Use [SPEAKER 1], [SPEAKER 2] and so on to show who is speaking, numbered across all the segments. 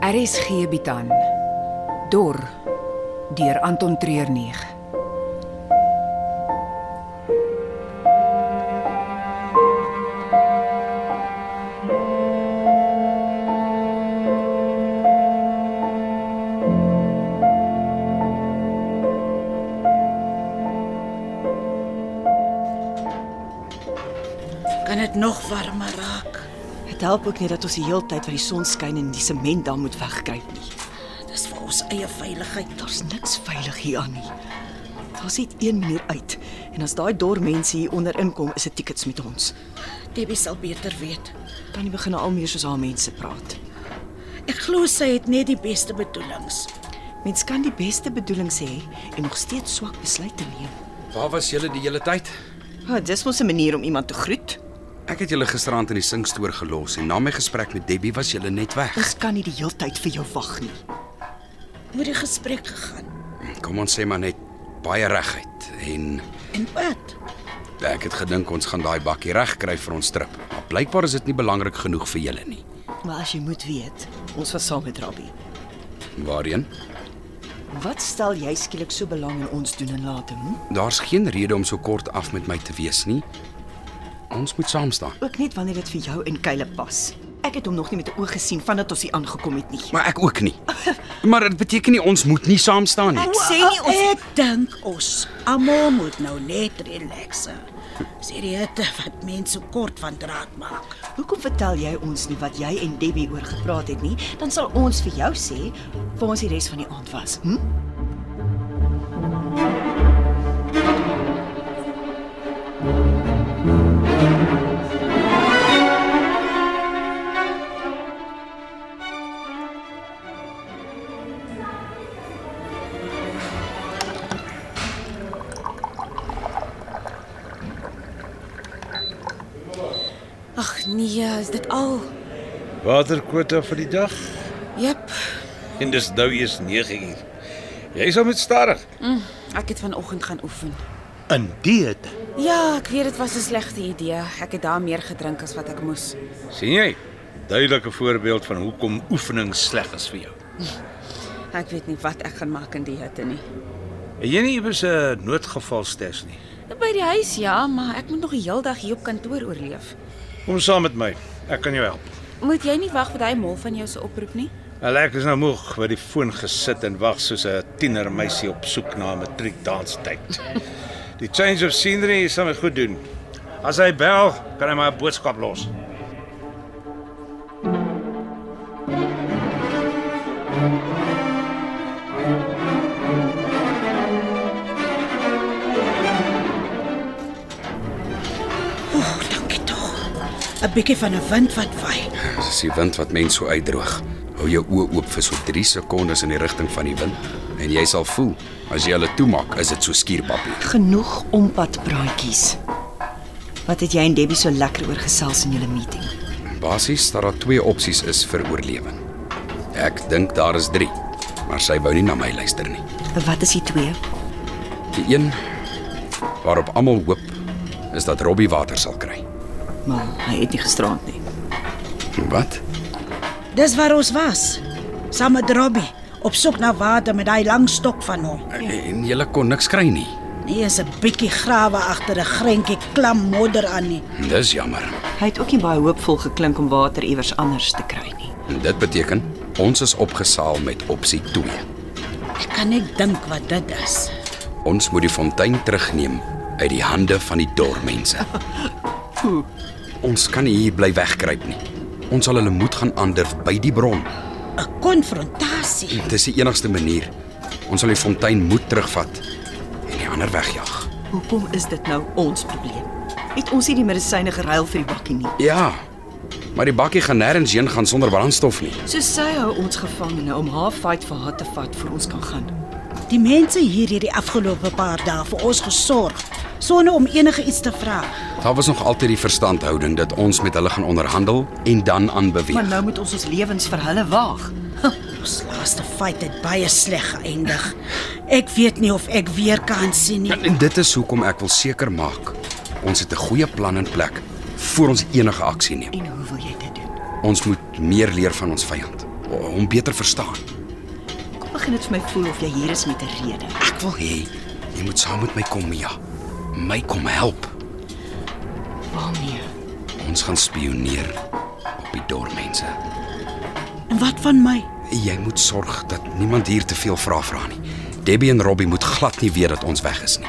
[SPEAKER 1] RSG bied aan Dor deur Anton Treuer 9.
[SPEAKER 2] Kan dit nog warmer raak?
[SPEAKER 3] Dit help ook nie dat ons die hele tyd wat die son skyn en die sement daar moet wegkruip nie.
[SPEAKER 2] Dis vir ons eie veiligheid.
[SPEAKER 3] Daar's niks veilig hier aan nie. Daar's net een manier uit en as daai dor mense hier onder inkom, is dit tickets met ons.
[SPEAKER 2] Debbie sal beter weet.
[SPEAKER 3] Dan nie begin al meer soos haar mense praat.
[SPEAKER 2] Ek glo sy het net die beste bedoelings.
[SPEAKER 3] Mens kan die beste bedoelings hê en nog steeds swak besluite neem.
[SPEAKER 4] Waar was julle die hele tyd?
[SPEAKER 3] Ha, dis mos 'n manier om iemand te groet.
[SPEAKER 4] Ek het julle gisteraand in die sinkstoor gelos en na my gesprek met Debbie was julle net weg.
[SPEAKER 3] Ons kan nie die hele tyd vir jou wag nie.
[SPEAKER 2] Hoe het die gesprek gegaan?
[SPEAKER 4] Kom ons sê maar net baie reguit en
[SPEAKER 2] En wat?
[SPEAKER 4] ek het gedink ons gaan daai bakkie reg kry vir ons trip. Maar blykbaar is dit nie belangrik genoeg vir julle nie.
[SPEAKER 3] Maar as jy moet weet, ons was saam met Rabbi.
[SPEAKER 4] Waarheen?
[SPEAKER 3] Wat stel jy skielik so belang in ons doen en late? Hm?
[SPEAKER 4] Daar's geen rede om so kort af met my te wees nie. Ons moet saam staan.
[SPEAKER 3] Ook net wanneer dit vir jou en Kyle pas. Ek het hom nog nie met 'n oog gesien vandat ons hier aangekom het nie.
[SPEAKER 4] Maar ek ook nie. Maar dit beteken nie ons moet nie saam staan nie.
[SPEAKER 3] Ek sê nie ons
[SPEAKER 2] Ek dink ons almal moet nou net relaxe. Serieus wat mense so kort van draad maak.
[SPEAKER 3] Hoekom vertel jy ons nie wat jy en Debbie oor gepraat het nie? Dan sal ons vir jou sê waar ons die res van die aand was. Hm?
[SPEAKER 5] Ag nee, is dit al?
[SPEAKER 6] Waterkwota vir die dag
[SPEAKER 5] Jep.
[SPEAKER 6] en dis nou eers 9 uur. Jy sal moet stadig.
[SPEAKER 5] Mm, Ek het vanoggend gaan oefen.
[SPEAKER 7] Indeed.
[SPEAKER 5] Ja, ek weet dit was 'n slegte idee. Ek het daar meer gedrink as wat ek moes.
[SPEAKER 6] sien jy? Duidelike voorbeeld van hoekom oefening sleg is vir jou.
[SPEAKER 5] Ek weet nie wat ek gaan maak in die hitte nie.
[SPEAKER 6] Het jy nie iewers 'n noodgevalstes nie?
[SPEAKER 5] By die huis ja, maar ek moet nog die heel dag hier op kantoor oorleef.
[SPEAKER 6] Kom saam met my. Ek kan jou help.
[SPEAKER 5] Moet jy nie wag vir daai mol van jou se oproep nie?
[SPEAKER 6] Wel, Ek is nou moeg by die foon gesit en wag soos 'n tienermeisie op soek na 'n matriekdanstyd. Die change of scenery sal my goed doen. As hy bel, kan hy my 'n boodskap los.
[SPEAKER 2] Oeg, Oh, dankie tog. 'n Bietjie van 'n wind wat waai.
[SPEAKER 4] Dis die wind wat mense so uitdroog. Hou jou oë oop vir so 3 sekondes in die rigting van die wind en jy sal voel as jy hulle toemaak, is dit so skuurpapier.
[SPEAKER 3] Genoeg ompadbraadjies. Wat het jy en Debbie so lekker oor gesels in julle meeting?
[SPEAKER 4] Basies dat daar twee opsies is vir oorlewing. Ek dink daar is 3, maar sy wou nie na my luister nie.
[SPEAKER 3] Wat is die twee?
[SPEAKER 4] Die een waarop almal hoop is dat Robbie water sal kry.
[SPEAKER 3] Maar hy het nie gisterand nie.
[SPEAKER 4] Wat?
[SPEAKER 2] Dis waar ons was. Saam met Robbie op soek na water met daai lang stok van hom.
[SPEAKER 4] En jy kon niks kry nie.
[SPEAKER 2] Nie eens 'n bietjie grawe agter 'n grentjie klam modder aan nie.
[SPEAKER 4] Dis jammer.
[SPEAKER 3] Hy het ook nie baie hoopvol geklink om water iewers anders te kry nie.
[SPEAKER 4] En dit beteken ons is opgesaal met opsie 2.
[SPEAKER 2] Ek kan net dink wat dit is.
[SPEAKER 4] Ons moet die fontein terugneem uit die hande van die dormense.
[SPEAKER 3] Hoe?
[SPEAKER 4] Ons kan nie hier bly wegkruip nie. Ons sal hulle moed gaan aandurf by die bron.
[SPEAKER 2] 'n Konfrontasie.
[SPEAKER 4] Dit is die enigste manier. Ons sal die fontein moet terugvat en die ander wegjaag.
[SPEAKER 3] Hoekom is dit nou ons probleem? Het ons nie die medisyne geruil vir die bakkie nie?
[SPEAKER 4] Ja. Maar die bakkie gaan nêrens heen gaan sonder brandstof nie.
[SPEAKER 3] So sy hou ons gevangene om haar fight vir haar te vat voor ons kan gaan.
[SPEAKER 2] Die mense hier hierdie afgelope paar dae vir ons gesorg sonder om enige iets te vra.
[SPEAKER 4] Daar was nog altyd die verstandhouding dat ons met hulle gaan onderhandel en dan
[SPEAKER 3] Maar
[SPEAKER 4] aanbeweeg.
[SPEAKER 3] nou moet ons ons lewens vir hulle waag.
[SPEAKER 2] Ons laaste fight het baie sleg geëindig. Ek weet nie of ek weer kan sien nie.
[SPEAKER 4] En, en dit is hoekom ek wil seker maak ons het 'n goeie plan in plek voor ons enige aksie neem.
[SPEAKER 3] En hoe wil jy dit doen?
[SPEAKER 4] Ons moet meer leer van ons vyand. hom beter verstaan.
[SPEAKER 3] Kom begin dit vir my voel of jy hier is met 'n rede.
[SPEAKER 4] Ek wil hê jy moet saam met my kom, Mia. My kom help.
[SPEAKER 3] Waarmee?
[SPEAKER 4] Ons gaan spioneer op die dorpmense.
[SPEAKER 2] En wat van my?
[SPEAKER 4] Jy moet sorg dat niemand hier te veel vrae vra nie. Debbie en Robbie moet glad nie weet dat ons weg is nie.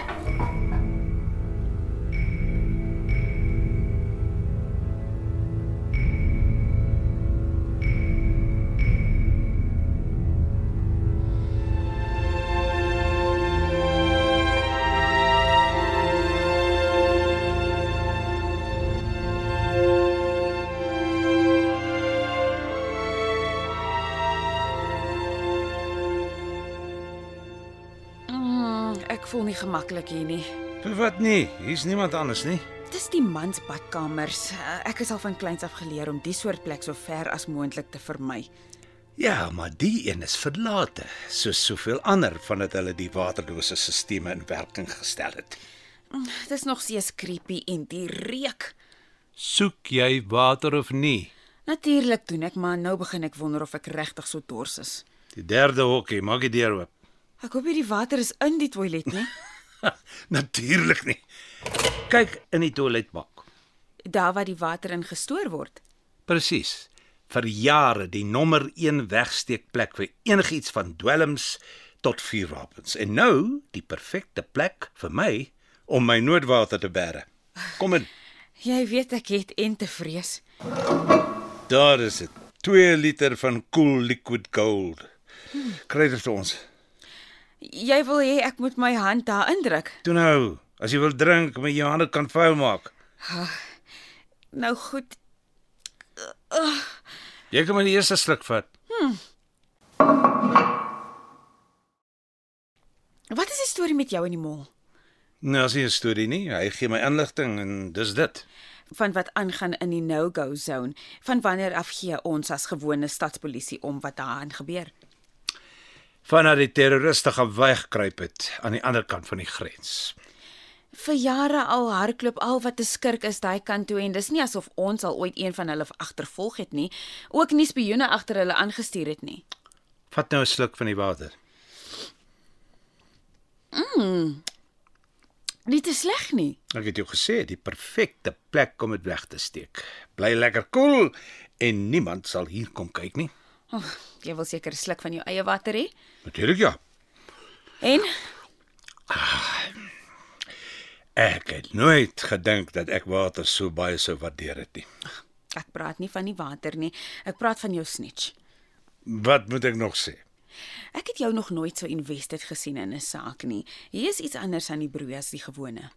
[SPEAKER 5] Mm, Ek voel nie gemaklik hier nie.
[SPEAKER 6] Vir wat nie? Hier's niemand anders nie.
[SPEAKER 5] Dis die man se badkamers. Eh, Ek is al van kleins af geleer om die soort plek so ver as moontlik te vermy.
[SPEAKER 6] Ja, maar die een is verlate, soos soveel ander vandat hulle die waterdose sisteme in werking gestel het.
[SPEAKER 5] Mm, Dis nog steeds creepy en die reuk.
[SPEAKER 6] Soek jy water of nie?
[SPEAKER 5] Natuurlik doen ek, maar nou begin ek wonder of ek regtig so dors is.
[SPEAKER 6] Die derde hokkie, maak die deur oop.
[SPEAKER 5] Ek hoop hierdie water is in die toilet, nie?
[SPEAKER 6] Natuurlik nie. Kyk in die toiletbak.
[SPEAKER 5] Daar waar die water in gestoor word.
[SPEAKER 6] Presies. Vir jare die nommer 1 wegsteekplek vir enigiets van dwelms tot vuurwapens. En nou die perfekte plek vir my om my noodwater te bære. Kom in.
[SPEAKER 5] Jy weet ek het en te vrees.
[SPEAKER 6] Daar is dit. 2 liter van cool liquid gold. Kry dit vir ons.
[SPEAKER 5] Jy wil hê ek moet my hand daar indruk.
[SPEAKER 6] Toe nou, as jy wil drink, moet jy jou hande kan vuil maak.
[SPEAKER 5] Nou goed,
[SPEAKER 6] Jy kan maar die eerste sluk vat.
[SPEAKER 5] wat is die storie met jou en die mol?
[SPEAKER 6] Nou as jy 'n storie nie, hy gee my inligting en dis dit.
[SPEAKER 5] Van wat aangaan in die no-go zone? Van wanneer af gee ons as gewone stadspolisie om wat daaraan gebeur?
[SPEAKER 6] Vanaf die terroriste gaan wegkruip het aan die ander kant van die grens.
[SPEAKER 5] Vir jare al hardloop al wat 'n skurk is daai kant toe en dis nie asof ons al ooit een van hulle agtervolg het nie, ook nie spioene agter hulle aangestuur het nie.
[SPEAKER 6] Vat nou 'n sluk van die water.
[SPEAKER 5] Nie te sleg nie.
[SPEAKER 6] Ek het jou gesê, die perfekte plek om dit weg te steek. Bly lekker koel cool, en niemand sal hier kom kyk nie.
[SPEAKER 5] Oh, jy wil seker 'n sluk van jou eie water hê?
[SPEAKER 6] Natuurlik ja.
[SPEAKER 5] En
[SPEAKER 6] Ek het nooit gedink dat ek water so baie sou waardeer het nie.
[SPEAKER 5] ek praat nie van die water nie. Ek praat van jou snitch.
[SPEAKER 6] Wat moet ek nog sê?
[SPEAKER 5] Ek het jou nog nooit so invested gesien in 'n saak nie. Hier is iets anders aan die broei as die gewone.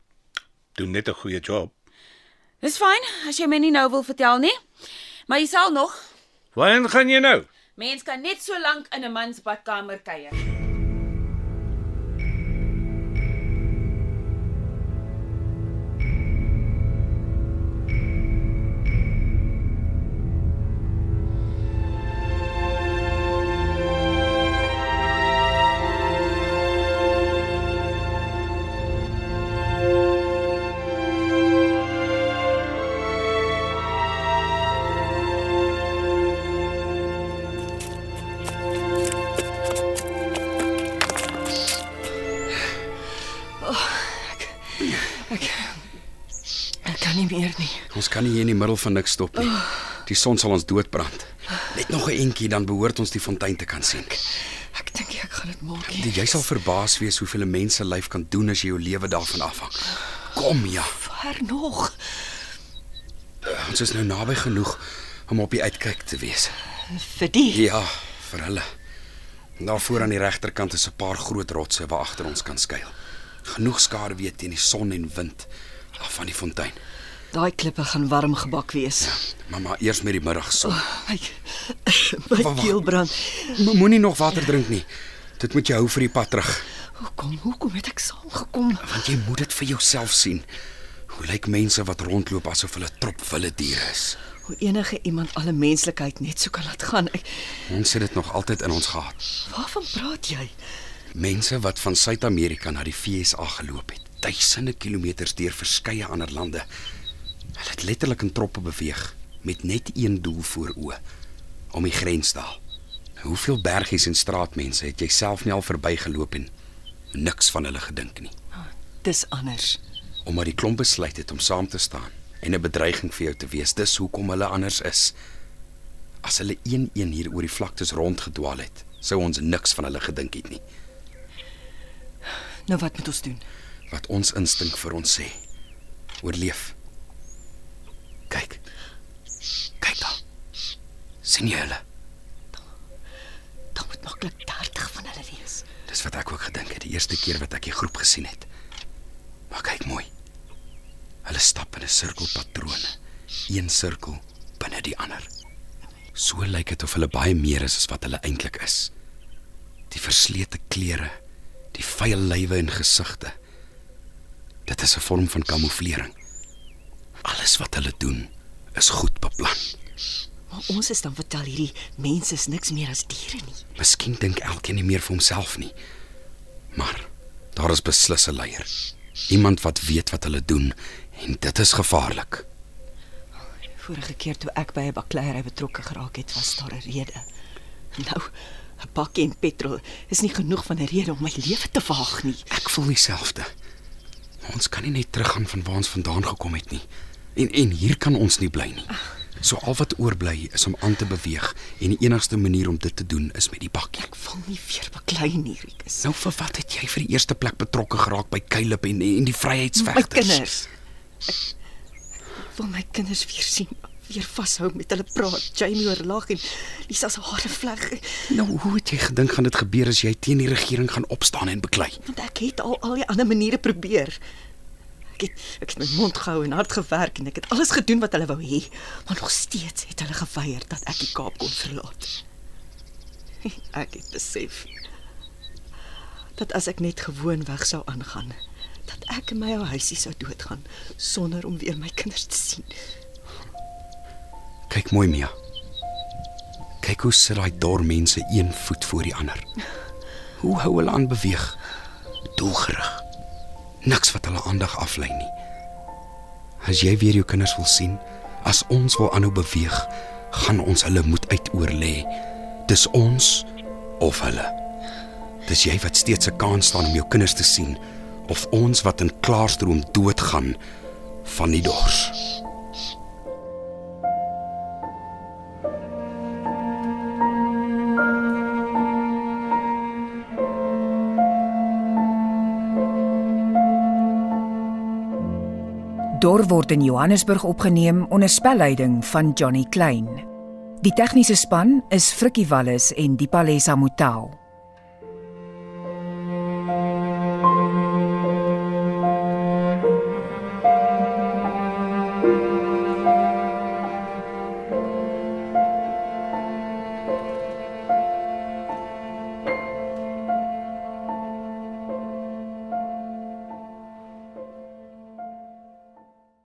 [SPEAKER 6] Doen net 'n goeie job.
[SPEAKER 5] Dis fyn as jy my nie nou wil vertel nie. Maar jy sal nog.
[SPEAKER 6] Waarheen gaan jy nou?
[SPEAKER 5] Mens kan net so lank in 'n man se badkamer kuier.
[SPEAKER 3] Ek kan nie meer nie.
[SPEAKER 4] Ons kan nie hier in die middel van niks stop nie. Die son sal ons doodbrand. Net nog 'n entjie dan behoort ons die fontein te kan sien.
[SPEAKER 3] Ek dink ek gaan dit maak.
[SPEAKER 4] Die, jy sal verbaas wees hoeveel 'n mens se lyf kan doen as jy jou lewe daarvan afhang. Kom ja,
[SPEAKER 3] ver nog.
[SPEAKER 4] ons is nou naby genoeg om op die uitkyk te wees.
[SPEAKER 3] Vir die
[SPEAKER 4] Ja, vir hulle. Daarvoor aan die regterkant is 'n paar groot rotse waar agter ons kan skuil. Genoeg skaduwee teen die son en wind af van die fontein.
[SPEAKER 3] daai klippe gaan warm gebak wees.
[SPEAKER 4] Maar maar eers met die middagson.
[SPEAKER 3] My my
[SPEAKER 4] Wa- wa-
[SPEAKER 3] keel brand.
[SPEAKER 4] Mo- Moenie nog water drink nie. Dit moet jy hou vir die pad terug,
[SPEAKER 3] Hoekom? Hoekom het ek saamgekom?
[SPEAKER 4] want jy moet dit vir jouself sien. Hoe lyk mense wat rondloop asof hulle trop wilde diere is?
[SPEAKER 3] Hoe enige iemand alle menslikheid net so kan laat gaan. Ek,
[SPEAKER 4] Ons het dit nog altyd in ons gehad.
[SPEAKER 3] waarvan praat jy?
[SPEAKER 4] Mense wat van Suid-Amerika na die VSA geloop het, duisende kilometers deur verskeie ander lande. Hulle het letterlik in troppe beweeg met net een doel voor oë: om die grens te haal. Hoeveel bergies en straatmense het jy self nie al verbygeloop en niks van hulle gedink nie,
[SPEAKER 3] Dis anders.
[SPEAKER 4] omdat die klomp besluit het om saam te staan en 'n bedreiging vir jou te wees. Dis hoekom hulle anders is. As hulle een een hier oor die vlaktes rondgedwaal het, sou ons niks van hulle gedink het nie.
[SPEAKER 3] Nou wat moet ons doen?
[SPEAKER 4] Wat ons instink vir ons sê. Oorleef. Kyk. Kyk daar. sien jy hulle?
[SPEAKER 3] Daar moet maklik 30 van hulle wees.
[SPEAKER 4] Dis wat ek ook gedink het die eerste keer wat ek die groep gesien het. Maar kyk mooi. Hulle stap in 'n sirkelpatrone, een sirkel binne die ander. So lyk dit of hulle baie meer is as wat hulle eintlik is. Die verslete klere, die vuil lywe en gesigte. Dit is 'n vorm van kamouflering. Alles wat hulle doen is goed beplan.
[SPEAKER 3] Maar ons is dan vertel hierdie mense is niks meer as diere nie.
[SPEAKER 4] Miskien dink elkeen nie meer vir homself nie. Maar daar is beslis 'n leier. Iemand wat weet wat hulle doen en dit is gevaarlik.
[SPEAKER 3] Vorige keer toe ek by 'n bakleierery betrokke geraak het, was daar 'n rede. Nou, 'n bakkie en petrol is nie genoeg van 'n rede om my lewe te waag nie.
[SPEAKER 4] Ek voel dieselfde. Ons kan nie net teruggaan van waar ons vandaan gekom het nie. En en hier kan ons nie bly nie. So al wat oorbly is om aan te beweeg en die enigste manier om dit te doen is met die bakkie.
[SPEAKER 3] Ek wil nie weer baklei nie, Rikus.
[SPEAKER 4] Nou vir wat het jy vir die eerste plek betrokke geraak by Kylip en en die
[SPEAKER 3] My
[SPEAKER 4] vryheidsvegters?
[SPEAKER 3] kinders. Ek wil my kinders weer sien, weer vashou met hulle praat. Jamie oorlag en Lisa se hare vleg.
[SPEAKER 4] Nou hoe het jy gedink gaan dit gebeur as jy teen die regering gaan opstaan en beklei?
[SPEAKER 3] want ek het al al die ander maniere probeer. Ek het ek het my mond gehou en hard gewerk en ek het alles gedoen wat hulle wou hê, maar nog steeds het hulle geweier dat ek die Kaap kon verlaat. Ek het besef dat as ek net gewoonweg sou aangaan, dat ek in my ou huisie sou doodgaan sonder om weer my kinders te sien.
[SPEAKER 4] Kyk mooi, Mia. Kyk hoe sit daai dor mense een voet voor die ander. Hoe hou hulle aan beweeg? Doelgerig. Niks wat hulle aandag aflei nie. As jy weer jou kinders wil sien, as ons wil aanhou beweeg, gaan ons hulle moet uitoorlê. Dis ons of hulle. Dis jy wat steeds 'n kans staan om jou kinders te sien of ons wat in klaarstroom doodgaan van die dors.
[SPEAKER 1] Dor word in Johannesburg opgeneem onder spelleiding van Johnny Klein. Die tegniese span is Frikkie Wallis en Dipalesa Motelo.